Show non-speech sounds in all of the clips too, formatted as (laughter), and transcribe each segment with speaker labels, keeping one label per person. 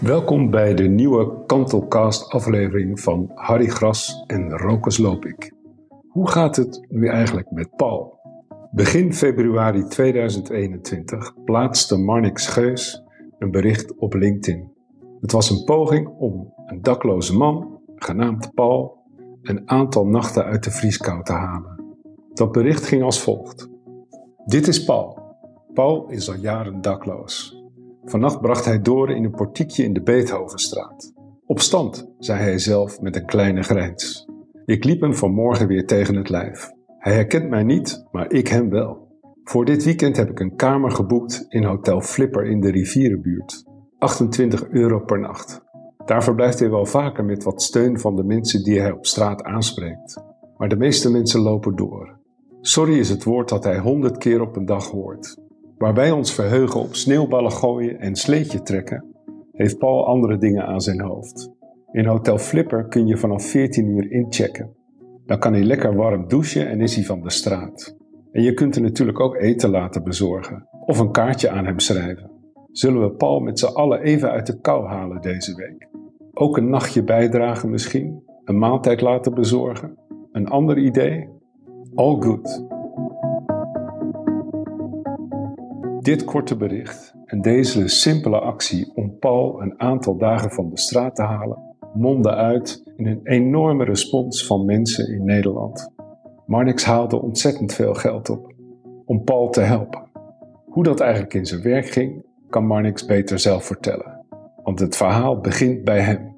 Speaker 1: Welkom bij de nieuwe Kantelcast-aflevering van Harry Gras en Rokers Lopik. Hoe gaat het nu eigenlijk met Paul? Begin februari 2021 plaatste Marnix Geus een bericht op LinkedIn. Het was een poging om een dakloze man, genaamd Paul, een aantal nachten uit de vrieskou te halen. Dat bericht ging als volgt. Dit is Paul. Paul is al jaren dakloos. Vannacht bracht hij door in een portiekje in de Beethovenstraat. Op stand, zei hij zelf met een kleine grijns. Ik liep hem vanmorgen weer tegen het lijf. Hij herkent mij niet, maar ik hem wel. Voor dit weekend heb ik een kamer geboekt in Hotel Flipper in de rivierenbuurt. 28 euro per nacht. Daar verblijft hij wel vaker met wat steun van de mensen die hij op straat aanspreekt. Maar de meeste mensen lopen door. Sorry is het woord dat hij honderd keer op een dag hoort. Waar wij ons verheugen op sneeuwballen gooien en sleetje trekken, heeft Paul andere dingen aan zijn hoofd. In Hotel Flipper kun je vanaf 14 uur inchecken. Dan kan hij lekker warm douchen en is hij van de straat. En je kunt er natuurlijk ook eten laten bezorgen of een kaartje aan hem schrijven. Zullen we Paul met z'n allen even uit de kou halen deze week? Ook een nachtje bijdragen misschien? Een maaltijd laten bezorgen? Een ander idee? All good. Dit korte bericht en deze simpele actie om Paul een aantal dagen van de straat te halen, mondde uit in een enorme respons van mensen in Nederland. Marnix haalde ontzettend veel geld op om Paul te helpen. Hoe dat eigenlijk in zijn werk ging, kan Marnix beter zelf vertellen, want het verhaal begint bij hem.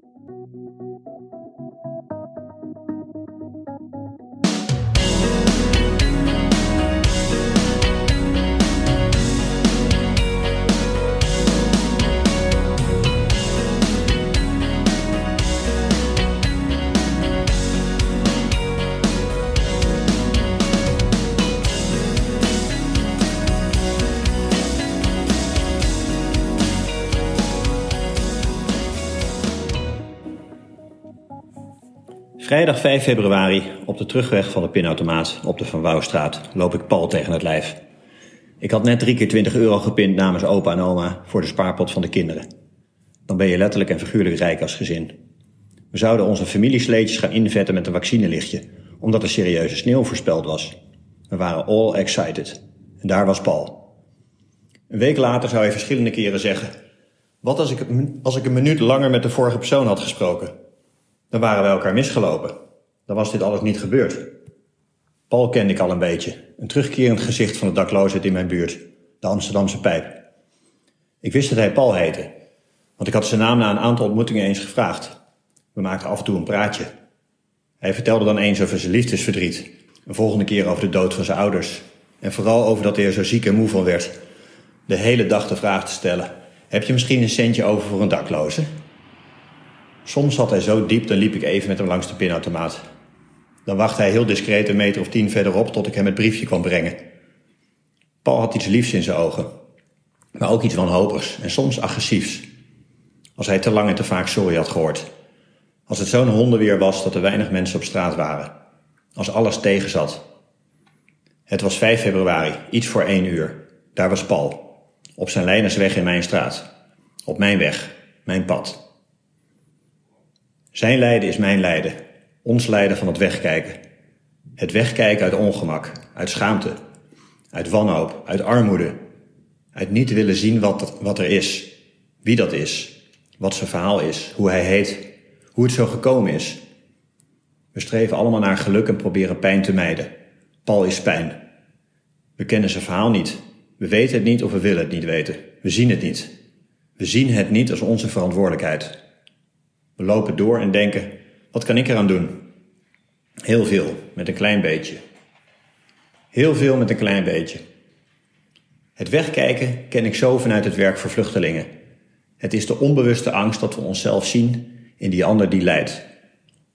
Speaker 2: Vrijdag 5 februari, op de terugweg van de pinautomaat op de Van Wouwstraat, loop ik Paul tegen het lijf. Ik had net drie keer 20 euro gepind namens opa en oma voor de spaarpot van de kinderen. Dan ben je letterlijk en figuurlijk rijk als gezin. We zouden onze familiesleetjes gaan invetten met een vaccinelichtje, omdat er serieuze sneeuw voorspeld was. We waren all excited. En daar was Paul. Een week later zou hij verschillende keren zeggen... Wat als ik, het minu- als ik een minuut langer met de vorige persoon had gesproken? Dan waren we elkaar misgelopen. Dan was dit alles niet gebeurd. Paul kende ik al een beetje. Een terugkerend gezicht van de dakloosheid in mijn buurt. De Amsterdamse pijp. Ik wist dat hij Paul heette. Want ik had zijn naam na een aantal ontmoetingen eens gevraagd. We maakten af en toe een praatje. Hij vertelde dan eens over zijn liefdesverdriet. Een volgende keer over de dood van zijn ouders. En vooral over dat hij er zo ziek en moe van werd. De hele dag de vraag te stellen. Heb je misschien een centje over voor een dakloze? Soms zat hij zo diep, dan liep ik even met hem langs de pinautomaat. Dan wachtte hij heel discreet een meter of tien verderop tot ik hem het briefje kwam brengen. Paul had iets liefs in zijn ogen, maar ook iets wanhopigs en soms agressiefs. Als hij te lang en te vaak sorry had gehoord. Als het zo'n hondenweer was dat er weinig mensen op straat waren. Als alles tegen zat. Het was 5 februari, iets voor één uur. Daar was Paul. Op zijn lijnersweg in mijn straat. Op mijn weg, mijn pad. Zijn lijden is mijn lijden. Ons lijden van het wegkijken. Het wegkijken uit ongemak, uit schaamte, uit wanhoop, uit armoede. Uit niet willen zien wat, wat er is, wie dat is, wat zijn verhaal is, hoe hij heet, hoe het zo gekomen is. We streven allemaal naar geluk en proberen pijn te mijden. Paul is pijn. We kennen zijn verhaal niet. We weten het niet of we willen het niet weten. We zien het niet. We zien het niet als onze verantwoordelijkheid. We lopen door en denken: wat kan ik eraan doen? Heel veel, met een klein beetje. Heel veel met een klein beetje. Het wegkijken ken ik zo vanuit het werk voor vluchtelingen. Het is de onbewuste angst dat we onszelf zien in die ander die lijdt.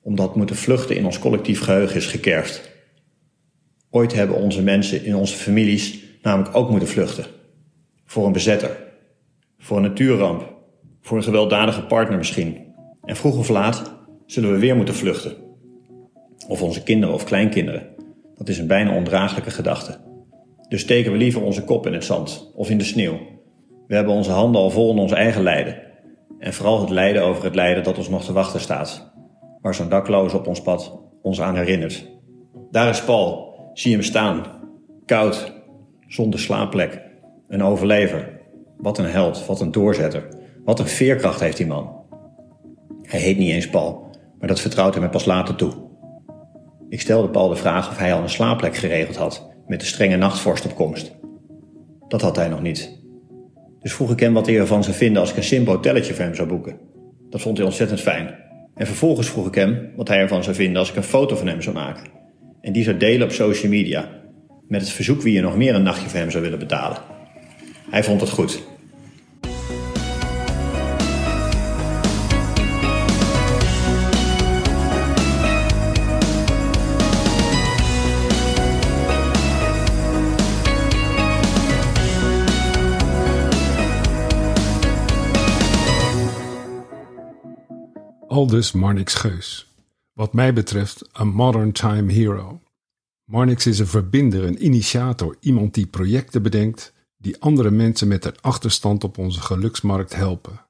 Speaker 2: Omdat moeten vluchten in ons collectief geheugen is gekerfd. Ooit hebben onze mensen in onze families namelijk ook moeten vluchten. Voor een bezetter. Voor een natuurramp. Voor een gewelddadige partner misschien. En vroeg of laat zullen we weer moeten vluchten. Of onze kinderen of kleinkinderen. Dat is een bijna ondraaglijke gedachte. Dus steken we liever onze kop in het zand of in de sneeuw. We hebben onze handen al vol in ons eigen lijden. En vooral het lijden over het lijden dat ons nog te wachten staat. Waar zo'n dakloos op ons pad ons aan herinnert. Daar is Paul. Zie hem staan. Koud. Zonder slaapplek. Een overlever. Wat een held. Wat een doorzetter. Wat een veerkracht heeft die man. Hij heet niet eens Paul. Maar dat vertrouwt hij mij pas later toe. Ik stelde Paul de vraag of hij al een slaapplek geregeld had. Met de strenge nachtvorst op komst. Dat had hij nog niet. Dus vroeg ik hem wat hij ervan zou vinden als ik een Simbo telletje voor hem zou boeken. Dat vond hij ontzettend fijn. En vervolgens vroeg ik hem wat hij ervan zou vinden als ik een foto van hem zou maken. En die zou delen op social media. Met het verzoek wie er nog meer een nachtje voor hem zou willen betalen. Hij vond het goed.
Speaker 1: Aldus dus Marnix Geus. Wat mij betreft een modern time hero. Marnix is een verbinder, een initiator, iemand die projecten bedenkt die andere mensen met een achterstand op onze geluksmarkt helpen.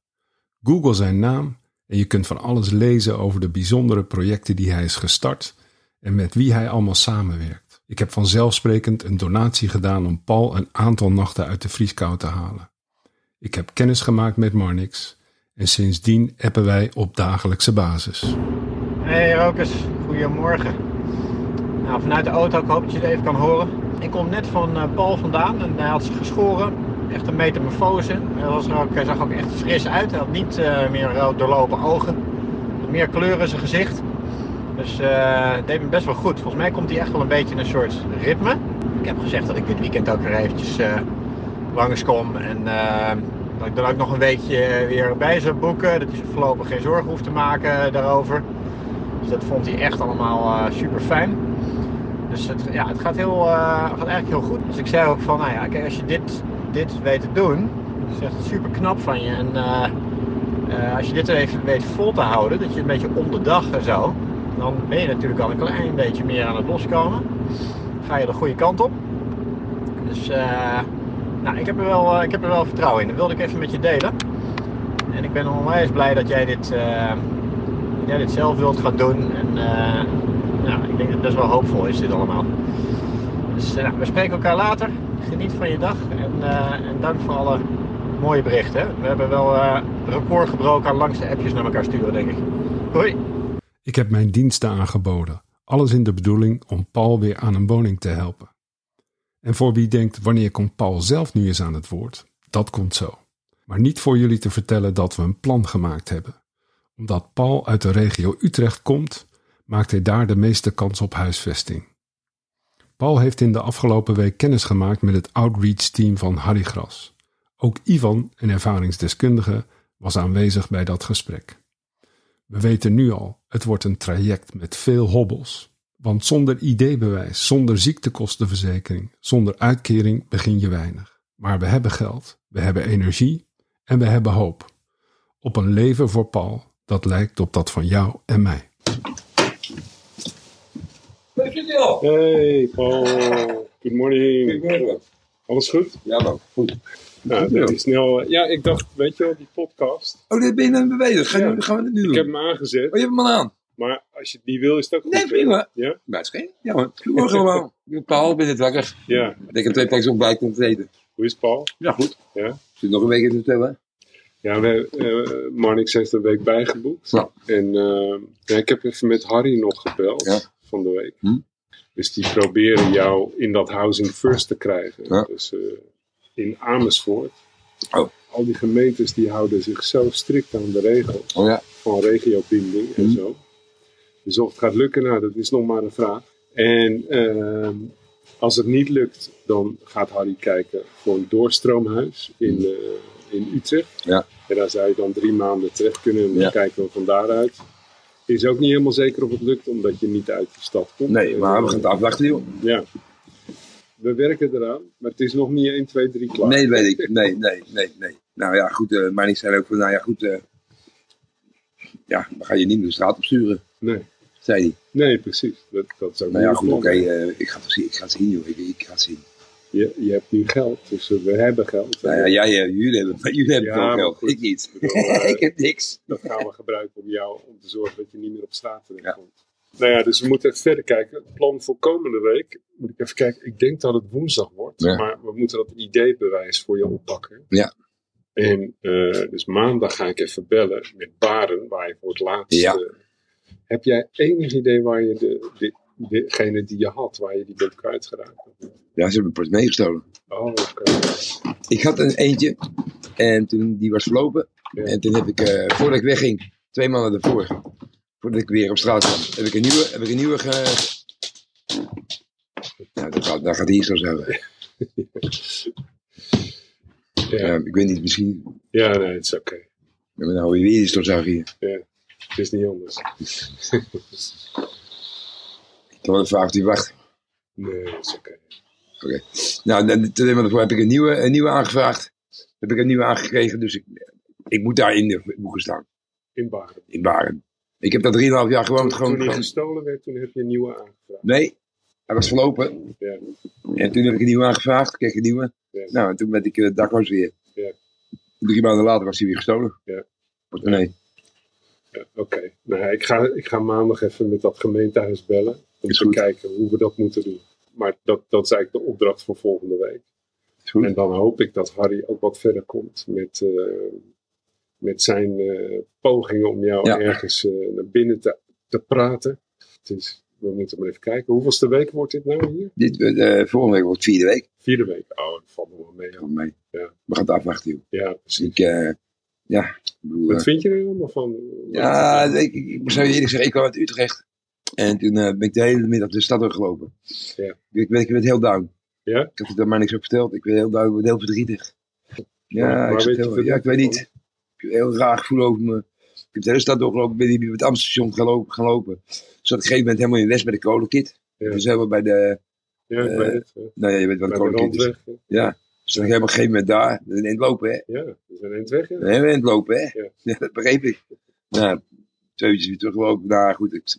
Speaker 1: Google zijn naam en je kunt van alles lezen over de bijzondere projecten die hij is gestart en met wie hij allemaal samenwerkt. Ik heb vanzelfsprekend een donatie gedaan om Paul een aantal nachten uit de vrieskou te halen. Ik heb kennis gemaakt met Marnix en sindsdien appen wij op dagelijkse basis.
Speaker 3: Hey Rokers, goedemorgen. Nou, vanuit de auto, ik hoop dat je het even kan horen. Ik kom net van eh, Paul vandaan en hij had zich geschoren. Echt een metamorfose. Hij was er ook, hij zag ook echt fris uit. Hij had niet eh, meer rood doorlopen ogen. Meer kleur in zijn gezicht. Dus eh, het deed me best wel goed. Volgens mij komt hij echt wel een beetje in een soort ritme. Ik heb gezegd dat ik dit weekend ook weer eventjes eh, langs kom. En eh, dat ik dan ook nog een weekje eh, weer bij zou boeken. Dat hij zich voorlopig geen zorgen hoeft te maken eh, daarover. Dus dat vond hij echt allemaal eh, super fijn. Dus het, ja, het gaat, heel, eh, gaat eigenlijk heel goed. Dus ik zei ook van, nou ja, kijk, als je dit, dit weet te doen, dat is echt super knap van je. En eh, eh, als je dit even weet vol te houden, dat je een beetje om de dag en zo, dan ben je natuurlijk al een klein beetje meer aan het loskomen. Ga je de goede kant op. Dus eh, nou, ik, heb er wel, eh, ik heb er wel vertrouwen in. Dat wilde ik even met je delen. En ik ben onwijs blij dat jij dit, eh, dat jij dit zelf wilt gaan doen. En eh, nou, ik denk dat het best wel hoopvol is dit allemaal. Dus eh, nou, we spreken elkaar later. Geniet van je dag en, eh, en dank voor alle mooie berichten. hè. We hebben wel eh, record gebroken aan langste appjes naar elkaar sturen, denk ik. Hoi!
Speaker 1: Ik heb mijn diensten aangeboden, alles in de bedoeling om Paul weer aan een woning te helpen. En voor wie denkt, wanneer komt Paul zelf nu eens aan het woord? Dat komt zo. Maar niet voor jullie te vertellen dat we een plan gemaakt hebben. Omdat Paul uit de regio Utrecht komt, maakt hij daar de meeste kans op huisvesting. Paul heeft in de afgelopen week kennis gemaakt met het outreach-team van Harry Gras. Ook Ivan, een ervaringsdeskundige, was aanwezig bij dat gesprek. We weten nu al, het wordt een traject met veel hobbels. Want zonder ID-bewijs, zonder ziektekostenverzekering, zonder uitkering begin je weinig. Maar we hebben geld, we hebben energie en we hebben hoop. Op een leven voor Paul dat lijkt op dat van jou en mij.
Speaker 4: Daar zit hij al.
Speaker 5: Hey Paul, good morning.
Speaker 4: Goedemorgen.
Speaker 5: Alles goed?
Speaker 4: Ja, nou, goed.
Speaker 5: Nou, dat is snel. eh, Ja, ik dacht, weet je wel, die podcast.
Speaker 4: Oh, dit ben je aan het bewegen. Gaan, we- gaan we dit nu doen?
Speaker 5: Ik heb hem aangezet,
Speaker 4: Oh, je hebt hem al aan.
Speaker 5: maar als je het niet wil, is dat goed.
Speaker 4: Nee,
Speaker 5: hè?
Speaker 4: prima.
Speaker 5: Ja?
Speaker 4: Maar het is geen. Ja, hoor. (laughs) Goedemorgen allemaal. Ik ben Paul, ben net wakker.
Speaker 5: Ja.
Speaker 4: Ik heb twee pakjes ontbijt om te eten.
Speaker 5: Hoe is Paul?
Speaker 4: Ja, goed.
Speaker 5: Ja.
Speaker 4: Zit nog een week in het hotel, hè?
Speaker 5: Ja, we, eh, Marnix heeft een week bijgeboekt.
Speaker 4: Ja.
Speaker 5: En eh, ja, ik heb even met Harry nog gebeld
Speaker 4: Ja.
Speaker 5: van de week.
Speaker 4: Hm.
Speaker 5: Dus die proberen jou in dat housing first te krijgen.
Speaker 4: Ja.
Speaker 5: Dus eh, in Amersfoort.
Speaker 4: Oh.
Speaker 5: Al die gemeentes die houden zich zo strikt aan de regels.
Speaker 4: Oh ja.
Speaker 5: van regiobinding en
Speaker 4: Hmm.
Speaker 5: zo. Dus of het gaat lukken, nou, dat is nog maar een vraag. En ehm, als het niet lukt, dan gaat Harry kijken voor een doorstroomhuis in, eh, in Utrecht.
Speaker 4: Mhm. Ja.
Speaker 5: En daar zou je dan drie maanden terecht kunnen en dan
Speaker 4: Ja.
Speaker 5: kijken we van daaruit. Is ook niet helemaal zeker of het lukt, omdat je niet uit de stad komt.
Speaker 4: Nee, maar we gaan
Speaker 5: Eh,
Speaker 4: het afwachten, joh.
Speaker 5: Ja. We werken eraan, maar het is nog niet 1, 2, 3 klaar.
Speaker 4: Nee, weet ik. Nee, nee, nee, nee. Nou ja, goed. eh maar ik zei ook van, nou ja, goed. eh, ja, we gaan je niet meer de straat opsturen,
Speaker 5: Nee,
Speaker 4: zei hij.
Speaker 5: (laughs) nee precies. Dat, dat is ook
Speaker 4: Nou ja,
Speaker 5: niet
Speaker 4: goed,
Speaker 5: het
Speaker 4: oké.
Speaker 5: plan.
Speaker 4: eh, ik ga het zien, ik ga het zien, joh. Ik, ik ga het zien.
Speaker 5: je, je hebt nu geld, dus we hebben geld.
Speaker 4: Nou ja, jij, eh, jullie hebben, (laughs) maar jullie hebben
Speaker 5: Ja,
Speaker 4: veel
Speaker 5: maar
Speaker 4: geld.
Speaker 5: goed.
Speaker 4: Ik niet.
Speaker 5: Ik bedoel, eh,
Speaker 4: (laughs) ik heb niks.
Speaker 5: dat gaan we gebruiken om jou om te zorgen dat je niet meer op straat
Speaker 4: Ja.
Speaker 5: terechtkomt. Nou ja, dus we moeten even verder kijken. Het plan voor komende week, moet ik even kijken. Ik denk dat het woensdag wordt,
Speaker 4: Ja.
Speaker 5: maar we moeten dat ideebewijs voor je oppakken.
Speaker 4: Ja.
Speaker 5: En eh, dus maandag ga ik even bellen met Baren, waar je voor het laatst.
Speaker 4: Ja.
Speaker 5: eh, heb jij enig idee waar je de, de, degene die je had, waar je die bent kwijtgeraakt?
Speaker 4: Ja, ze hebben het portemonnee gestolen.
Speaker 5: Oh, oké.
Speaker 4: Ik had er eentje en toen die was verlopen.
Speaker 5: Ja.
Speaker 4: En toen heb ik, eh, voordat ik wegging, twee maanden daarvoor, voordat ik weer op straat kwam, heb ik een nieuwe, heb ik een nieuwe ge... Nou, dat gaat, dat gaat hier zo zijn.
Speaker 5: Ja.
Speaker 4: Eh, ik weet niet, misschien
Speaker 5: ja, nee, het is oké.
Speaker 4: hebben we nou weer weer iets zo zag hier.
Speaker 5: Het is niet anders.
Speaker 4: Toen had ik vraag die wacht.
Speaker 5: Nee, het is oké.
Speaker 4: Nou, dan- toen heb ik- heb ik een nieuwe, een nieuwe aangevraagd. Heb ik een nieuwe aangekregen, dus ik, ik moet daar in de boeken staan,
Speaker 5: In Baren.
Speaker 4: in Baren. Ik heb daar 3,5 jaar gewoond.
Speaker 5: Toen
Speaker 4: Gewoon,
Speaker 5: die
Speaker 4: gewoon,
Speaker 5: gestolen werd, toen heb je een nieuwe aangevraagd.
Speaker 4: nee, hij was verlopen.
Speaker 5: Ja.
Speaker 4: En toen heb ik een nieuwe aangevraagd, kreeg ik een nieuwe.
Speaker 5: Ja.
Speaker 4: Nou, en toen werd ik eh, dakloos weer.
Speaker 5: Ja.
Speaker 4: Drie maanden later was hij weer gestolen.
Speaker 5: Ja.
Speaker 4: Nee,
Speaker 5: Ja, Oké, nou, ja, ik, ga, ik ga maandag even met dat gemeentehuis bellen. Om
Speaker 4: Is
Speaker 5: te
Speaker 4: goed.
Speaker 5: kijken hoe we dat moeten doen. Maar dat, dat is eigenlijk de opdracht voor volgende week.
Speaker 4: is goed.
Speaker 5: En dan hoop ik dat Harry ook wat verder komt met, eh, met zijn eh, pogingen om jou
Speaker 4: Ja.
Speaker 5: ergens eh, naar binnen te, te praten. Dus we moeten maar even kijken. Hoeveelste week wordt dit nou hier?
Speaker 4: Dit, eh, volgende week wordt vierde week.
Speaker 5: Vierde week. Oh, dat valt nog wel mee.
Speaker 4: Van mij.
Speaker 5: Ja.
Speaker 4: We gaan het afwachten, joh.
Speaker 5: Ja,
Speaker 4: Dus
Speaker 5: precies.
Speaker 4: ik, eh, ja, ik bedoel,
Speaker 5: Wat
Speaker 4: eh,
Speaker 5: vind je er allemaal van?
Speaker 4: ja, ik, ik, ik moet zo eerlijk zeggen, ik kwam uit Utrecht. En toen eh, ben ik de hele middag de stad doorgelopen.
Speaker 5: Ja.
Speaker 4: Ik, werd, ik werd heel down.
Speaker 5: Ja?
Speaker 4: Ik had het daar maar niks op verteld. Ik werd heel down, ik werd heel verdrietig. Ja,
Speaker 5: Waar- waar
Speaker 4: ik, zat
Speaker 5: weet je
Speaker 4: heel-
Speaker 5: het
Speaker 4: ja, ik weet
Speaker 5: van?
Speaker 4: niet. Ik heb heel raar gevoel over me. Ik heb de hele stad doorgelopen, ben hier bij het Amsterdam gaan lopen. Gaan lopen. Zat ik op een gegeven moment helemaal in West bij de kolenkit.
Speaker 5: Ja.
Speaker 4: Dus helemaal bij de,
Speaker 5: Ja, ik
Speaker 4: eh,
Speaker 5: weet het. hè.
Speaker 4: nou ja, je weet wat de
Speaker 5: Bij de
Speaker 4: kolenkit is.
Speaker 5: randweg. hè.
Speaker 4: Dus ik helemaal op een gegeven moment daar, een eind lopen hè.
Speaker 5: Ja, we zijn eind weg. hè.
Speaker 4: Een heel eind lopen hè.
Speaker 5: Ja.
Speaker 4: (laughs) Ja. dat begreep ik. Nou, twee uurtjes weer teruggelopen. Nou goed, ik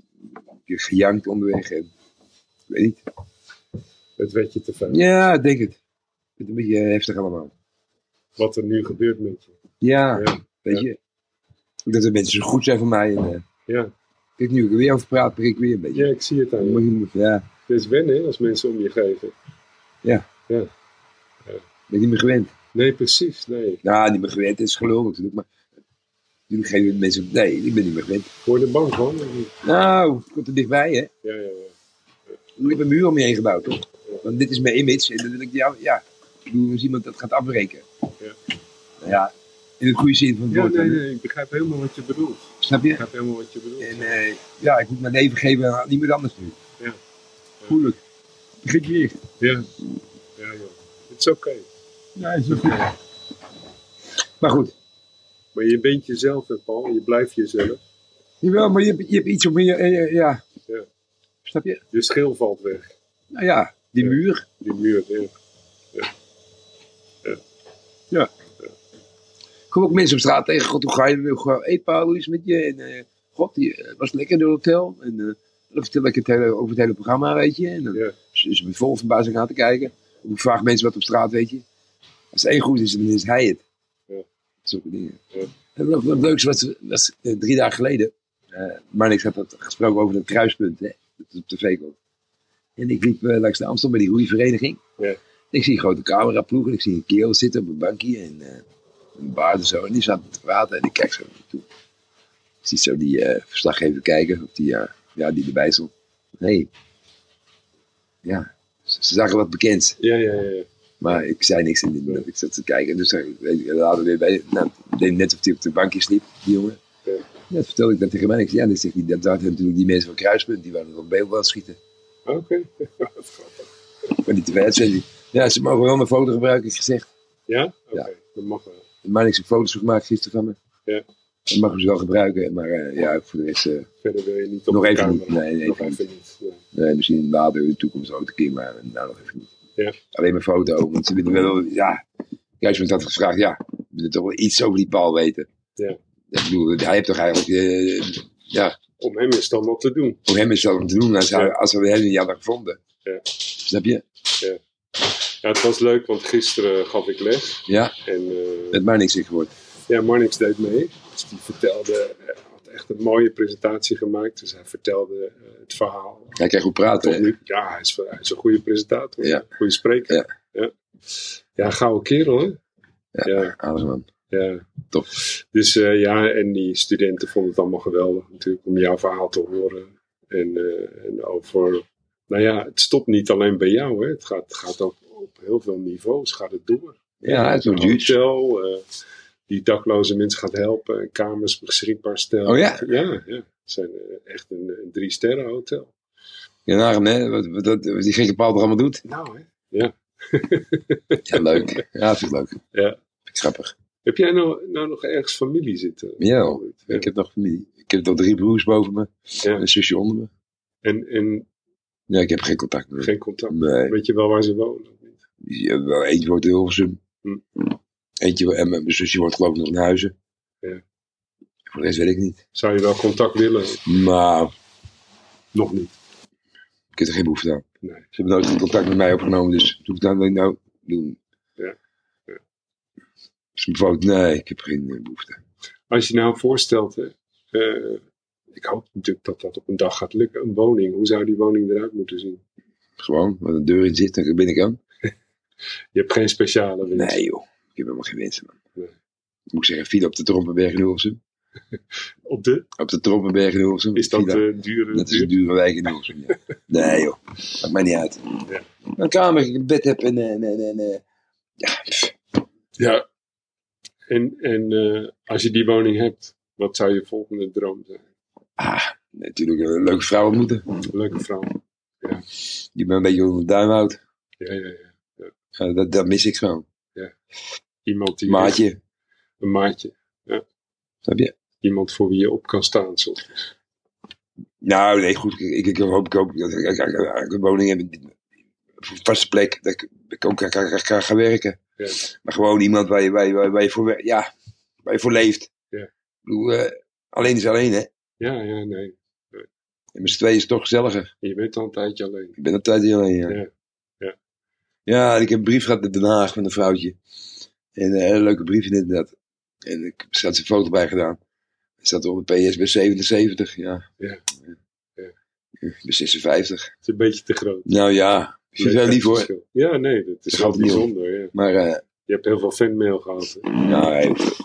Speaker 4: ik heb gejankt onderweg. En, ik weet niet.
Speaker 5: Het werd je te veel.
Speaker 4: Ja, ik denk het. Ik vind Het een beetje eh, heftig allemaal.
Speaker 5: Wat er nu gebeurt met je.
Speaker 4: Ja,
Speaker 5: Ja,
Speaker 4: weet je. Dat de mensen zo goed zijn voor mij. En, eh,
Speaker 5: ja.
Speaker 4: Kijk, nu ik er weer over praat, prik ik weer een beetje.
Speaker 5: ja ik zie het aan je.
Speaker 4: Moet je- Ja, ik
Speaker 5: Het is wennen hè, als mensen om je geven.
Speaker 4: ben niet meer gewend.
Speaker 5: Nee, precies. Nee.
Speaker 4: Nou, niet meer gewend, het is gelul natuurlijk, maar... Jullie geven mensen... Nee, ik ben niet meer gewend.
Speaker 5: Word je er bang van? of niet?
Speaker 4: Nou, het komt er dichtbij, hè.
Speaker 5: Ja, ja, ja.
Speaker 4: Ik heb een muur om je heen gebouwd, toch? Want dit is mijn image en dan wil ik... Ja, ja. Ik bedoel, als iemand dat gaat afbreken.
Speaker 5: Ja.
Speaker 4: Nou ja, in het goede zin van het
Speaker 5: Ja,
Speaker 4: woord.
Speaker 5: nee,
Speaker 4: dan, hè.
Speaker 5: nee. Ik begrijp helemaal wat je bedoelt.
Speaker 4: Snap
Speaker 5: Ik
Speaker 4: je?
Speaker 5: begrijp helemaal wat je bedoelt.
Speaker 4: En eh, ja, ik moet mijn leven geven aan niemand anders nu.
Speaker 5: Ja.
Speaker 4: Moeilijk. Begint weer.
Speaker 5: Ja. Ja, joh. Het is oké.
Speaker 4: Ja, is oké. Maar goed.
Speaker 5: Maar je bent jezelf, hè, Paul. Je blijft jezelf.
Speaker 4: Jawel, maar je, hebt- je hebt iets om je... eh, eh, ja.
Speaker 5: Ja.
Speaker 4: Snap je?
Speaker 5: Je schil valt weg.
Speaker 4: Nou ja, die
Speaker 5: Ja.
Speaker 4: muur.
Speaker 5: Die muur. Ja.
Speaker 4: Ik kom ook mensen op straat tegen. God, hoe ga je? Hoe ga je? Hey, Paul, hoe is het met je? En, eh, God, die eh, was lekker in het hotel. En eh, dan vertel ik het hele, over het hele programma, weet je. En dan
Speaker 5: Ja.
Speaker 4: is is me vol verbazing aan te kijken. En Ik vraag mensen wat op straat, weet je. Als er één goed is, dan is hij het.
Speaker 5: Ja.
Speaker 4: Zulke dingen.
Speaker 5: Ja.
Speaker 4: En wat, wat leuks was, was eh, drie dagen geleden. eh Marnix had dat gesproken over dat kruispunt, hè. Dat op tv komt. En ik liep eh, langs de Amstel bij die roeivereniging.
Speaker 5: Ja.
Speaker 4: Ik zie een grote cameraploeg en ik zie een kerel zitten op een bankje. En, eh, een baard en zo. En die zat te praten en ik kijk zo naar hem toe. Ik zie zo die eh, verslaggever kijken, of die, eh, ja, die erbij stond. Nee. Ja, ze, ze zagen wat bekend.
Speaker 5: Ja, ja, ja. ja.
Speaker 4: Maar ik zei niks en die- ik zat te kijken. Dus dan- weet ik, later weer bij, nou, het deed net of hij op de bankje sliep, die jongen.
Speaker 5: Ja.
Speaker 4: Ja, dat vertelde ik dan tegen mij. Ik zei, ja, dat, zegt hij, dat waren natuurlijk die mensen van Kruispunt, die waren op beeld aan het schieten.
Speaker 5: Oké.
Speaker 4: Maar niet te ver, zei hij. Ja, ze mogen wel mijn foto gebruiken, is gezegd.
Speaker 5: Ja? Oké. Dat mag wel.
Speaker 4: Maar niks een foto's van gemaakt gisteren van me.
Speaker 5: Ja.
Speaker 4: Dat mag ik ze wel gebruiken, maar eh, ja, voor de rest... eh,
Speaker 5: Verder wil je niet op
Speaker 4: Nog
Speaker 5: de
Speaker 4: even
Speaker 5: camera.
Speaker 4: niet. Nee, nee,
Speaker 5: Nog
Speaker 4: even
Speaker 5: even niet. Ja.
Speaker 4: Nee, misschien later in de toekomst ook een keer, maar nou nog even niet.
Speaker 5: Ja.
Speaker 4: Alleen mijn foto, want ze willen wel, ja. Kruisman had gevraagd, ja, we willen toch wel iets over die paal weten.
Speaker 5: Ja.
Speaker 4: Ik bedoel, hij heeft toch eigenlijk, eh, ja,
Speaker 5: Om hem is dan wat te doen.
Speaker 4: voor hem is dat om te doen als, hij,
Speaker 5: Ja.
Speaker 4: als we hem niet hadden gevonden.
Speaker 5: Ja.
Speaker 4: Snap je?
Speaker 5: Ja. Ja, het was leuk, want gisteren gaf ik les.
Speaker 4: Ja,
Speaker 5: En eh,
Speaker 4: met maar niks in geworden.
Speaker 5: ja, Marnix deed mee. Dus die vertelde, hij had echt een mooie presentatie gemaakt. Dus hij vertelde eh, het verhaal.
Speaker 4: Hij kreeg goed praten.
Speaker 5: Tot
Speaker 4: hè?
Speaker 5: nu- ja, hij is, hij is een goede presentator.
Speaker 4: Ja.
Speaker 5: Goede spreker. Ja. Ja. gouden kerel, hè? Ja.
Speaker 4: Alles man.
Speaker 5: ja.
Speaker 4: Top.
Speaker 5: Dus eh, ja, en die studenten vonden het allemaal geweldig natuurlijk om jouw verhaal te horen. En, eh, en over, nou ja, het stopt niet alleen bij jou, hè. Het gaat, het gaat ook op heel veel niveaus gaat het door.
Speaker 4: Ja, het wordt
Speaker 5: Een
Speaker 4: huge.
Speaker 5: hotel, eh, die dakloze mensen gaat helpen, en kamers beschikbaar stellen.
Speaker 4: Oh ja?
Speaker 5: Ja, ja. Het zijn eh, echt een, een drie sterren hotel.
Speaker 4: Ja, naar hè? Wat, wat, wat die gekke paal er allemaal doet.
Speaker 5: Nou hè.
Speaker 4: Ja, leuk. Ja, vind ik leuk.
Speaker 5: Ja.
Speaker 4: Grappig.
Speaker 5: Heb jij nou, nou nog ergens familie zitten?
Speaker 4: Ja, hoor. ik heb nog familie. Ik heb nog drie broers boven me.
Speaker 5: Ja.
Speaker 4: Een zusje onder me.
Speaker 5: En, en
Speaker 4: Ja, ik heb geen contact meer.
Speaker 5: geen contact.
Speaker 4: Nee.
Speaker 5: Weet je wel waar ze wonen? of niet?
Speaker 4: Ja, wel, Eentje wordt in Hilversum.
Speaker 5: Hm.
Speaker 4: Eentje, wo- en mijn zusje wordt geloof ik nog in Huizen.
Speaker 5: Ja.
Speaker 4: Voor de rest weet ik niet.
Speaker 5: Zou je wel contact willen?
Speaker 4: Maar
Speaker 5: Nog niet.
Speaker 4: ik heb er geen behoefte aan.
Speaker 5: Nee.
Speaker 4: Ze hebben nooit geen contact met mij opgenomen, dus doe ik dat nou, nou doen.
Speaker 5: Ja. Ja.
Speaker 4: Dus mijn fout, nee, ik heb geen eh, behoefte.
Speaker 5: Als je nou voorstelt, hè, eh, ik hoop natuurlijk dat dat op een dag gaat lukken, een woning. Hoe zou die woning eruit moeten zien?
Speaker 4: Gewoon, waar een deur in zit, dan ben ik aan.
Speaker 5: Je hebt geen speciale wens.
Speaker 4: Nee joh, ik heb helemaal geen wensen man.
Speaker 5: Nee.
Speaker 4: Moet ik zeggen, file op de Trompenberg in Hilversum.
Speaker 5: Op de,
Speaker 4: Op de Trompenberg in Hilversum.
Speaker 5: is dat
Speaker 4: Villa.
Speaker 5: de dure...
Speaker 4: Dat is een
Speaker 5: duur-
Speaker 4: dure wijk in Hilversum.
Speaker 5: (laughs)
Speaker 4: ja. Nee joh, maakt mij niet uit.
Speaker 5: Ja.
Speaker 4: Een kamer, ik een bed heb en... eh, en, en, en, eh, ja, pff,
Speaker 5: Ja. En, en eh, als je die woning hebt, wat zou je volgende droom zijn?
Speaker 4: ah, natuurlijk een leuke vrouw ontmoeten.
Speaker 5: Leuke vrouw.
Speaker 4: Die me een beetje onder de duim houdt.
Speaker 5: Ja, ja, ja.
Speaker 4: Ja, dat, dat mis ik gewoon.
Speaker 5: Iemand die...
Speaker 4: Maatje,
Speaker 5: Een maatje.
Speaker 4: snap je?
Speaker 5: Iemand voor wie je op kan staan. Zo.
Speaker 4: Nou, nee, goed. Ik, ik hoop ik ook dat ik, ik- ik- ik een woning heb. die- Voor een vaste plek. Dat ik, ik ook kan, kan, kan gaan werken.
Speaker 5: Ja.
Speaker 4: Maar gewoon iemand waar je, waar je, waar je- waar je voor, wer- ja, waar je voor leeft.
Speaker 5: Ja.
Speaker 4: Ik bedoel, eh, alleen is alleen, hè.
Speaker 5: Ja, ja, nee.
Speaker 4: En met z'n tweeën is het toch gezelliger.
Speaker 5: Je bent al een tijdje alleen.
Speaker 4: Ik ben altijd niet alleen, ja.
Speaker 5: Ja. Ja.
Speaker 4: Ja, en ik heb een brief gehad naar Den Haag van een vrouwtje. En een hele leuke brief inderdaad. En ik heb zelfs een foto bij gedaan. Er staat op de PS bij 77, ja.
Speaker 5: Ja. Ja.
Speaker 4: Bij 56.
Speaker 5: Het is een beetje te groot.
Speaker 4: Nou ja, ik vind het wel lief hoor.
Speaker 5: Leeftijdsverschil. Ja, nee, dat is
Speaker 4: Dat
Speaker 5: wel
Speaker 4: gaat niet om.
Speaker 5: bijzonder. Ja.
Speaker 4: Maar, eh
Speaker 5: Je hebt heel veel fanmail gehad. hè.
Speaker 4: nou, hij hoeft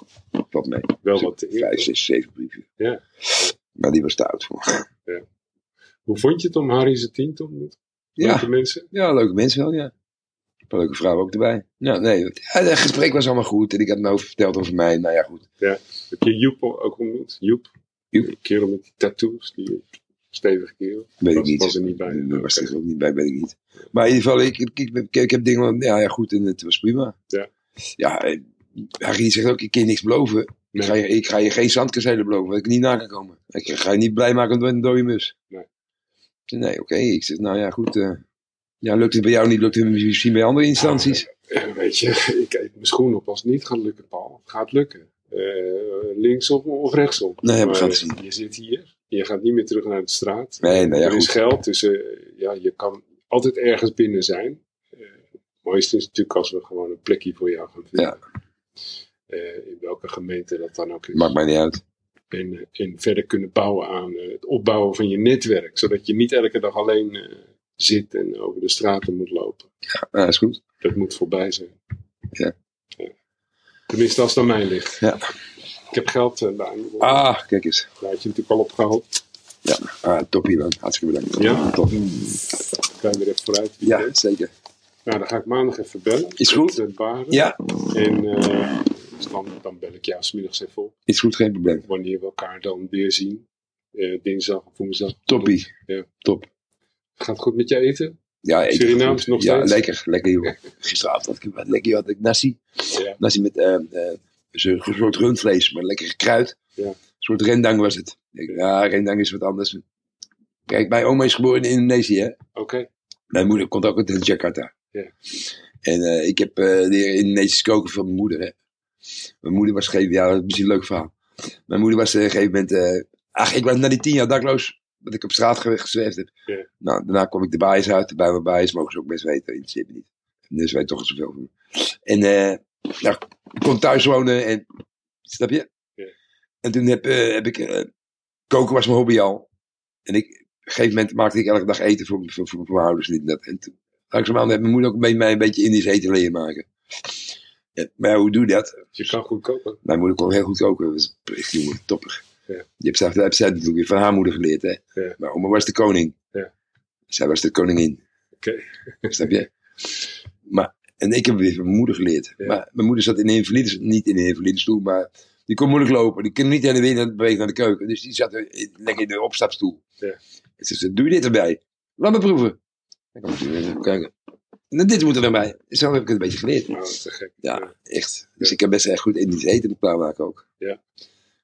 Speaker 4: wat mee.
Speaker 5: Wel wat te
Speaker 4: Vijf,
Speaker 5: eer.
Speaker 4: zes, zeven brieven.
Speaker 5: Ja.
Speaker 4: Maar die was te oud voor.
Speaker 5: Hoe vond je het om Harry zijn team te ontmoeten? Leuke
Speaker 4: Ja,
Speaker 5: mensen?
Speaker 4: ja, leuke mensen wel, ja. Een paar leuke vrouwen ook erbij. Ja, nee, het, ja, het gesprek was allemaal goed. En ik had me over verteld over mij. Nou ja, goed.
Speaker 5: Heb je Joep ook ontmoet? Joep?
Speaker 4: Joep.
Speaker 5: Die kerel met die tattoos. Die stevige kerel.
Speaker 4: Weet ik
Speaker 5: Was-
Speaker 4: niet.
Speaker 5: was er niet bij.
Speaker 4: Daar was
Speaker 5: Oké.
Speaker 4: er ook niet bij, weet ik niet. Maar in ieder geval, ik, ik, ik, ik- ik heb dingen van, ja, ja, goed, en het was prima.
Speaker 5: Ja.
Speaker 4: Ja, en Harry zegt ook, ik kan je niks beloven. Ik,
Speaker 5: Nee.
Speaker 4: ga je, ik ga je geen zandkazelen beloven, dat ik er niet na kan komen. Ik ga je niet blij maken met een dode mus.
Speaker 5: Nee.
Speaker 4: Ik zeg, Nee, oké. Ik zeg, nou ja, goed. eh, ja, lukt het bij jou niet, lukt het misschien bij andere instanties.
Speaker 5: Eh, weet je, (laughs) ik eet mijn schoen op als het niet gaat lukken, Paul. Het gaat lukken. Eh linksom of rechtsom.
Speaker 4: Nee, we
Speaker 5: Maar
Speaker 4: gaan het zien.
Speaker 5: Je zit hier. Je gaat niet meer terug naar de straat.
Speaker 4: Nee, nou ja,
Speaker 5: er is
Speaker 4: goed.
Speaker 5: geld, dus eh, ja, je kan altijd ergens binnen zijn. Eh, het mooiste is natuurlijk als we gewoon een plekje voor jou gaan vinden. Eh, in welke gemeente dat dan ook is.
Speaker 4: Maakt mij niet uit.
Speaker 5: En, eh, en verder kunnen bouwen aan eh, het opbouwen van je netwerk. Zodat je niet elke dag alleen eh, zit en over de straten moet lopen.
Speaker 4: Ja, Ah, is goed.
Speaker 5: Dat moet voorbij zijn.
Speaker 4: Ja.
Speaker 5: Ja. Tenminste, als het aan mij ligt.
Speaker 4: Ja.
Speaker 5: Ik heb geld, eh Daan. Daar
Speaker 4: Ah, kijk eens.
Speaker 5: had je natuurlijk al op gehad.
Speaker 4: Ja, ah, toppie man. Hartstikke bedankt.
Speaker 5: Ja.
Speaker 4: top.
Speaker 5: Kan je weer even vooruit. wie
Speaker 4: Ja,
Speaker 5: weet.
Speaker 4: zeker.
Speaker 5: Nou, dan ga ik maandag even bellen.
Speaker 4: Is goed.
Speaker 5: Met, eh, Baren.
Speaker 4: Ja,
Speaker 5: En eh, dus dan, dan bel ik jou smiddags even op.
Speaker 4: is goed, geen probleem.
Speaker 5: Wanneer we elkaar dan weer zien. Eh, dinsdag of woensdag.
Speaker 4: Toppie.
Speaker 5: Ja.
Speaker 4: Top.
Speaker 5: Gaat het goed met je eten?
Speaker 4: Ja, eten
Speaker 5: Surinaams
Speaker 4: goed.
Speaker 5: nog
Speaker 4: ja,
Speaker 5: steeds?
Speaker 4: lekker, lekker joh. Gisteravond had ik wat lekker, joh, had ik nasi.
Speaker 5: Ja.
Speaker 4: Nasi met eh, eh, zo'n een soort rundvlees, maar lekker gekruid.
Speaker 5: Ja.
Speaker 4: Een soort rendang was het. Ik- Ja, rendang is wat anders. Kijk, mijn oma is geboren in Indonesië. Hè?
Speaker 5: Oké.
Speaker 4: Mijn moeder komt ook uit Jakarta.
Speaker 5: Ja.
Speaker 4: En eh, ik heb eh leren Indonesisch koken van mijn moeder. Hè? Mijn moeder was gegeven, ja, dat is misschien een leuk verhaal. Mijn moeder was eh, op een gegeven moment. eh, ach, ik was na die tien jaar dakloos. Dat ik op straat ge- gezwerfd heb.
Speaker 5: Ja.
Speaker 4: Nou, daarna kwam ik de baas uit. Bij mijn baas mogen ze ook best weten. Interesseert me niet. Dus wij toch zoveel van. En eh, nou, ik kon thuis wonen en. Snap je?
Speaker 5: Ja.
Speaker 4: En toen heb, eh, heb ik. eh, koken was mijn hobby al. En ik, op een gegeven moment maakte ik elke dag eten voor, voor, voor, voor mijn ouders. en Dit en dat. En toen, langzamerhand heeft mijn moeder ook mee, mij een beetje Indisch eten leren maken. Ja, maar ja, hoe doe je dat?
Speaker 5: Je kan goed koken.
Speaker 4: Mijn moeder kon heel goed koken. Dat was echt jongen, topper.
Speaker 5: Ja.
Speaker 4: Je hebt zelf, dat heb zij natuurlijk weer van haar moeder geleerd. Hè?
Speaker 5: Ja.
Speaker 4: Maar oma was de koning.
Speaker 5: Ja.
Speaker 4: Zij was de koningin.
Speaker 5: Oké.
Speaker 4: Snap je? Maar, en ik heb weer van mijn moeder geleerd.
Speaker 5: Ja.
Speaker 4: Maar mijn moeder zat in de invalides, niet in de invalidestoel, maar die kon moeilijk lopen. Die kon niet hele weer bewegen naar de keuken. Dus die zat eh, lekker in de opstapstoel.
Speaker 5: Ja.
Speaker 4: En ze zei, doe je dit erbij? Laat me proeven. Dan kwam ze weer even kijken. En dan dit moet er erbij. Zo heb ik het een beetje geleerd.
Speaker 5: Nou, dat is te gek.
Speaker 4: Ja, echt. Dus ik kan best erg goed Indisch eten klaarmaken ook.
Speaker 5: Ja.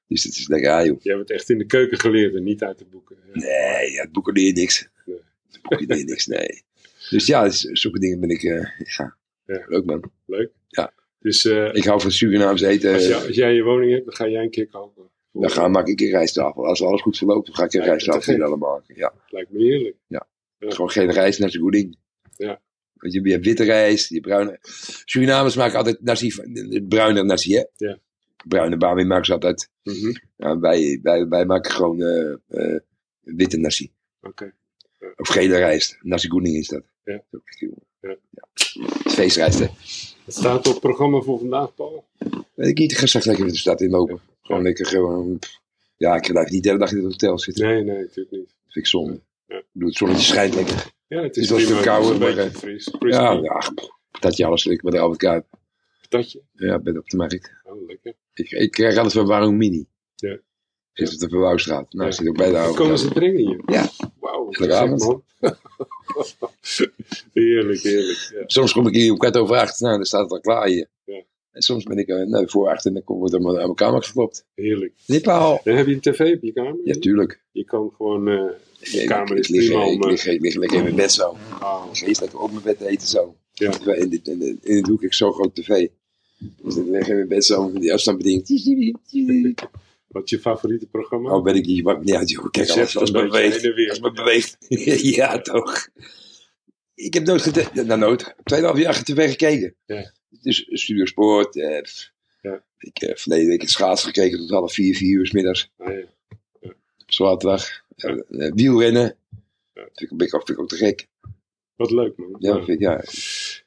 Speaker 4: Dus het is lekker, ah joh.
Speaker 5: Je hebt het echt in de keuken geleerd en niet uit de boeken. Ja.
Speaker 4: Nee, ja, het boeken leer je niks.
Speaker 5: Nee.
Speaker 4: Het boeken leer je niks, nee. Dus ja, dus zulke dingen ben ik, eh, ja.
Speaker 5: Ja.
Speaker 4: Leuk man.
Speaker 5: Leuk.
Speaker 4: Ja.
Speaker 5: Dus eh,
Speaker 4: Ik hou van Surinaams eten.
Speaker 5: als, jij, als jij je woning hebt, dan ga jij een keer koken.
Speaker 4: Dan ga, maak ik een rijsttafel. Als alles goed verloopt, dan ga ik een
Speaker 5: Ja, te
Speaker 4: rijsttafel
Speaker 5: gek.
Speaker 4: hier allemaal maken. Ja.
Speaker 5: Lijkt me heerlijk. Ja.
Speaker 4: Gewoon geen rijst naar zijn goeding.
Speaker 5: Ja.
Speaker 4: Want je, je hebt witte rijst, je hebt bruine. Surinamers maken altijd nasi, bruine nasi, hè?
Speaker 5: Ja.
Speaker 4: Bruine bami maken ze altijd.
Speaker 5: Mhm.
Speaker 4: Ja, wij, wij, wij maken gewoon eh, eh, witte nasi.
Speaker 5: Oké.
Speaker 4: Of gele rijst. Nasi goeding is dat.
Speaker 5: Ja.
Speaker 4: Dat is ook echt, jongen.
Speaker 5: Ja.
Speaker 4: Ja. Feestrijst, hè?
Speaker 5: Het staat op het programma voor vandaag, Paul.
Speaker 4: Weet ik niet, ik ga straks lekker met de stad inlopen. Gewoon lekker, gewoon. pff. Ja, ik blijf niet de hele dag in het hotel zitten.
Speaker 5: Nee, nee, natuurlijk niet.
Speaker 4: Dat vind ik zonde.
Speaker 5: Ja.
Speaker 4: Ik bedoel, het zonnetje schijnt lekker.
Speaker 5: Ja, het
Speaker 4: Is
Speaker 5: is
Speaker 4: dat
Speaker 5: prima.
Speaker 4: verkouden,
Speaker 5: Het is een
Speaker 4: maar,
Speaker 5: beetje fris.
Speaker 4: Ja,
Speaker 5: Frisbee,
Speaker 4: ja, pff, patatje alles lekker bij de Albert Kuip.
Speaker 5: patatje.
Speaker 4: Ja, ik ben op de markt.
Speaker 5: Oh, lekker.
Speaker 4: Ik, ik eh, krijg alles van Warung Mini.
Speaker 5: Ja.
Speaker 4: Zit op de Verwouwstraat. Nou,
Speaker 5: Ja.
Speaker 4: zit ook bij de
Speaker 5: Dan komen ze
Speaker 4: Albert
Speaker 5: brengen hier.
Speaker 4: Ja.
Speaker 5: Wauw, wat
Speaker 4: Lekker
Speaker 5: gek,
Speaker 4: avond.
Speaker 5: man. (laughs) heerlijk, heerlijk. Ja.
Speaker 4: Kuip. Soms kom ik hier om kwart over acht. Nou, dan staat het al klaar hier.
Speaker 5: Ja.
Speaker 4: En soms ben ik eh, nou, voor acht en dan wordt er aan mijn kamer geklopt.
Speaker 5: Heerlijk.
Speaker 4: Dit al.
Speaker 5: En heb je een tv op je kamer?
Speaker 4: Ja, tuurlijk.
Speaker 5: Je kan gewoon... eh
Speaker 4: Ja,
Speaker 5: je kamer
Speaker 4: ik,
Speaker 5: is
Speaker 4: ik, lig,
Speaker 5: prima
Speaker 4: eh,
Speaker 5: om...
Speaker 4: ik,
Speaker 5: eh,
Speaker 4: lig, ik lig lekker in mijn bed zo.
Speaker 5: ah,
Speaker 4: Ik lig lekker op mijn bed te eten zo.
Speaker 5: Ja.
Speaker 4: Terwijl In, dit, in, dit- in het hoek ik zo'n groot tv. Dus dan lig ik in mijn bed zo met die afstandsbediening.
Speaker 5: wat is je favoriete programma?
Speaker 4: Oh, ben ik hier? Maakt niet uit, joh. Kijk,
Speaker 5: Je
Speaker 4: alles,
Speaker 5: zegt
Speaker 4: alles
Speaker 5: een
Speaker 4: maar
Speaker 5: beetje
Speaker 4: beweegt.
Speaker 5: heen en weer.
Speaker 4: Alles maar beweegt. (laughs) ja, toch. Ik heb nooit geteld. Nou, nooit. Tweeënhalf jaar tv gekeken.
Speaker 5: Ja.
Speaker 4: Dus Studio Sport. Eh, pff.
Speaker 5: Ja.
Speaker 4: Ik heb verleden week het schaatsen gekeken tot half vier, vier uur 's middags.
Speaker 5: Ah, ja.
Speaker 4: op Zaterdag. Ja. eh, wielrennen.
Speaker 5: Ja.
Speaker 4: Vind ik, ben ik ook- vind ik ook te gek.
Speaker 5: Wat leuk, man.
Speaker 4: Ja,
Speaker 5: Nou,
Speaker 4: Vind ik, ja.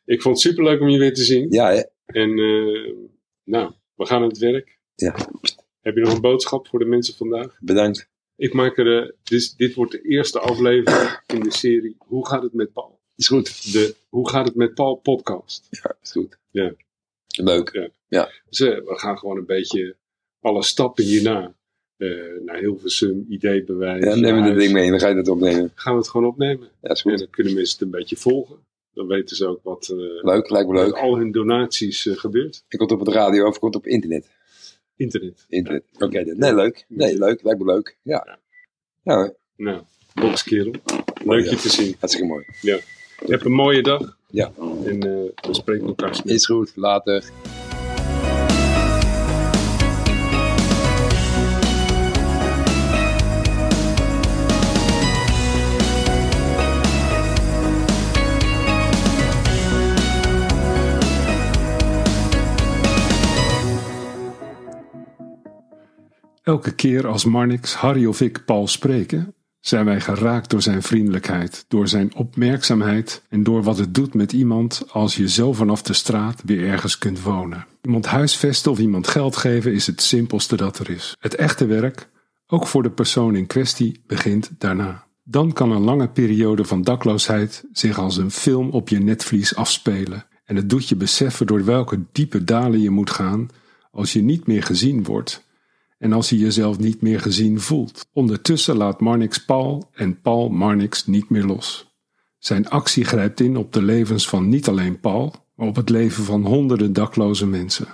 Speaker 5: Ik vond het superleuk om je weer te zien.
Speaker 4: ja hè?
Speaker 5: En eh, nou, we gaan aan het werk.
Speaker 4: Ja.
Speaker 5: Heb je nog een boodschap voor de mensen vandaag?
Speaker 4: bedankt.
Speaker 5: Ik maak er, eh, dus dit wordt de eerste aflevering in de serie Hoe gaat het met Paul?
Speaker 4: Is goed.
Speaker 5: De Hoe gaat het met Paul podcast.
Speaker 4: Ja, is goed.
Speaker 5: Ja.
Speaker 4: Leuk.
Speaker 5: Dus eh, we gaan gewoon een beetje alle stappen hierna. eh naar Hilversum, ideebewijs.
Speaker 4: Ja, neem
Speaker 5: naar
Speaker 4: we dat
Speaker 5: huis.
Speaker 4: ding mee en dan ga je dat opnemen.
Speaker 5: Gaan we het gewoon opnemen.
Speaker 4: Ja, is
Speaker 5: En
Speaker 4: goed.
Speaker 5: dan kunnen mensen het een beetje volgen. Dan weten ze ook wat eh
Speaker 4: Leuk, lijkt me
Speaker 5: met
Speaker 4: leuk.
Speaker 5: al hun donaties eh, gebeurt.
Speaker 4: Ik komt op het radio of ik komt op internet.
Speaker 5: Internet.
Speaker 4: Internet. Oké, dan. nee, leuk. Nee, leuk. Lijkt me leuk. Ja. Ja, hoor.
Speaker 5: Nou, bokskerel. Leuk je
Speaker 4: Ja.
Speaker 5: te zien.
Speaker 4: hartstikke mooi.
Speaker 5: Heb een mooie dag.
Speaker 4: Ja.
Speaker 5: En eh, we spreken elkaar snel.
Speaker 4: Is goed. Later.
Speaker 1: Elke keer als Marnix, Harry of ik Paul spreken, zijn wij geraakt door zijn vriendelijkheid, door zijn opmerkzaamheid en door wat het doet met iemand als je zo vanaf de straat weer ergens kunt wonen. Iemand huisvesten of iemand geld geven is het simpelste dat er is. Het echte werk, ook voor de persoon in kwestie, begint daarna. Dan kan een lange periode van dakloosheid zich als een film op je netvlies afspelen. En het doet je beseffen door welke diepe dalen je moet gaan als je niet meer gezien wordt en als hij jezelf niet meer gezien voelt. Ondertussen laat Marnix Paul en Paul Marnix niet meer los. Zijn actie grijpt in op de levens van niet alleen Paul, maar op het leven van honderden dakloze mensen.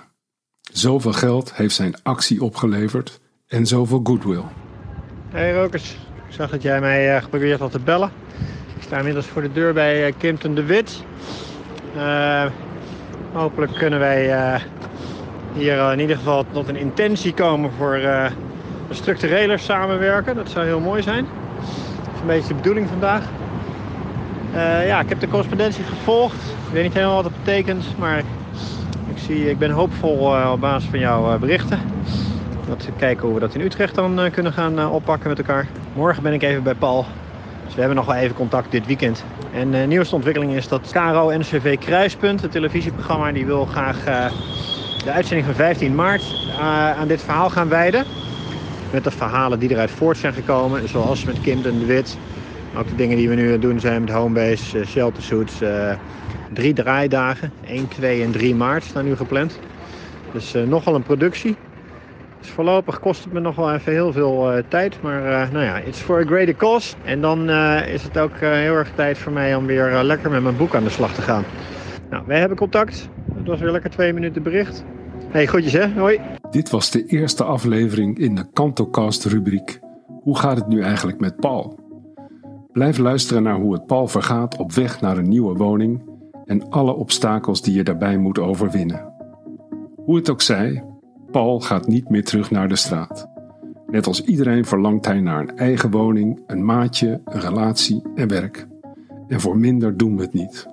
Speaker 1: Zoveel geld heeft zijn actie opgeleverd en zoveel goodwill.
Speaker 3: Hey Rokers, ik zag dat jij mij eh, geprobeerd had te bellen. Ik sta inmiddels voor de deur bij eh, Kimpton de Wit. Eh, hopelijk kunnen wij eh, hier eh, in ieder geval tot een intentie komen voor eh, een structureler samenwerken. Dat zou heel mooi zijn. Dat is een beetje de bedoeling vandaag. Eh, ja, ik heb de correspondentie gevolgd. Ik weet niet helemaal wat het betekent, maar ik, zie, ik ben hoopvol eh, op basis van jouw eh, berichten. Dat we kijken hoe we dat in Utrecht dan eh, kunnen gaan eh, oppakken met elkaar. Morgen ben ik even bij Paul. Dus we hebben nog wel even contact dit weekend. En de nieuwste ontwikkeling is dat KRO NCV Kruispunt, het televisieprogramma, die wil graag eh, de uitzending van 15 maart eh, aan dit verhaal gaan wijden. Met de verhalen die eruit voort zijn gekomen, zoals met Kim den de Wit. Ook de dingen die we nu aan het doen zijn met homebase, eh, shelter suits. eh, drie draaidagen, 1, 2 en 3 maart staan nu gepland. Dus eh, nogal een productie. Dus voorlopig kost het me nog wel even heel veel eh, tijd. Maar eh, nou ja, it's for a greater cause. En dan eh, is het ook eh, heel erg tijd voor mij om weer eh, lekker met mijn boek aan de slag te gaan. Nou, wij hebben contact. Het was weer lekker twee minuten bericht. hey, groetjes hè. Hoi.
Speaker 1: Dit was de eerste aflevering in de KantoCast-rubriek Hoe gaat het nu eigenlijk met Paul? Blijf luisteren naar hoe het Paul vergaat op weg naar een nieuwe woning en alle obstakels die je daarbij moet overwinnen. Hoe het ook zij, Paul gaat niet meer terug naar de straat. Net als iedereen verlangt hij naar een eigen woning, een maatje, een relatie en werk. En voor minder doen we het niet.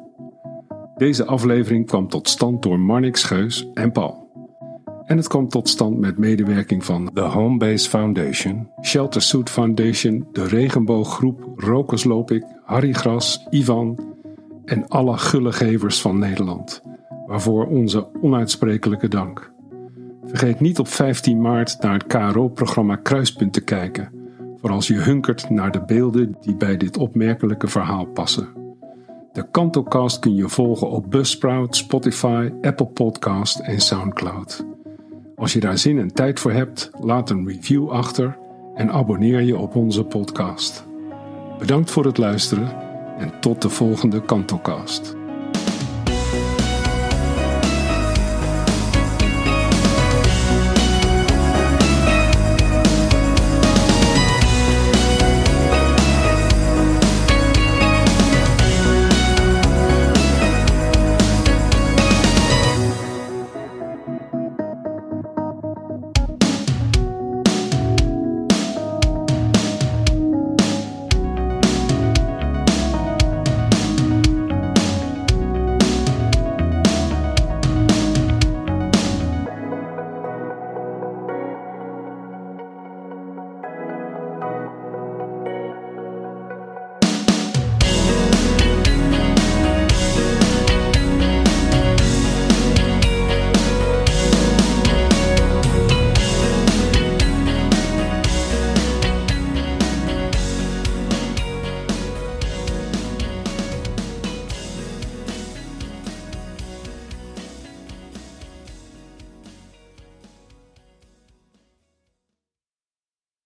Speaker 1: Deze aflevering kwam tot stand door Marnix Geus en Paul. En het kwam tot stand met medewerking van de Homebase Foundation, Shelter Suit Foundation, de Regenbooggroep, Rokers Loop Ik, Harry Gras, Ivan en alle gullegevers van Nederland. Waarvoor onze onuitsprekelijke dank. Vergeet niet op 15 maart naar het KRO-programma Kruispunt te kijken, voor als je hunkert naar de beelden die bij dit opmerkelijke verhaal passen. De KantoCast kun je volgen op Buzzsprout, Spotify, Apple Podcast en Soundcloud. Als je daar zin en tijd voor hebt, laat een review achter en abonneer je op onze podcast. Bedankt voor het luisteren en tot de volgende KantoCast.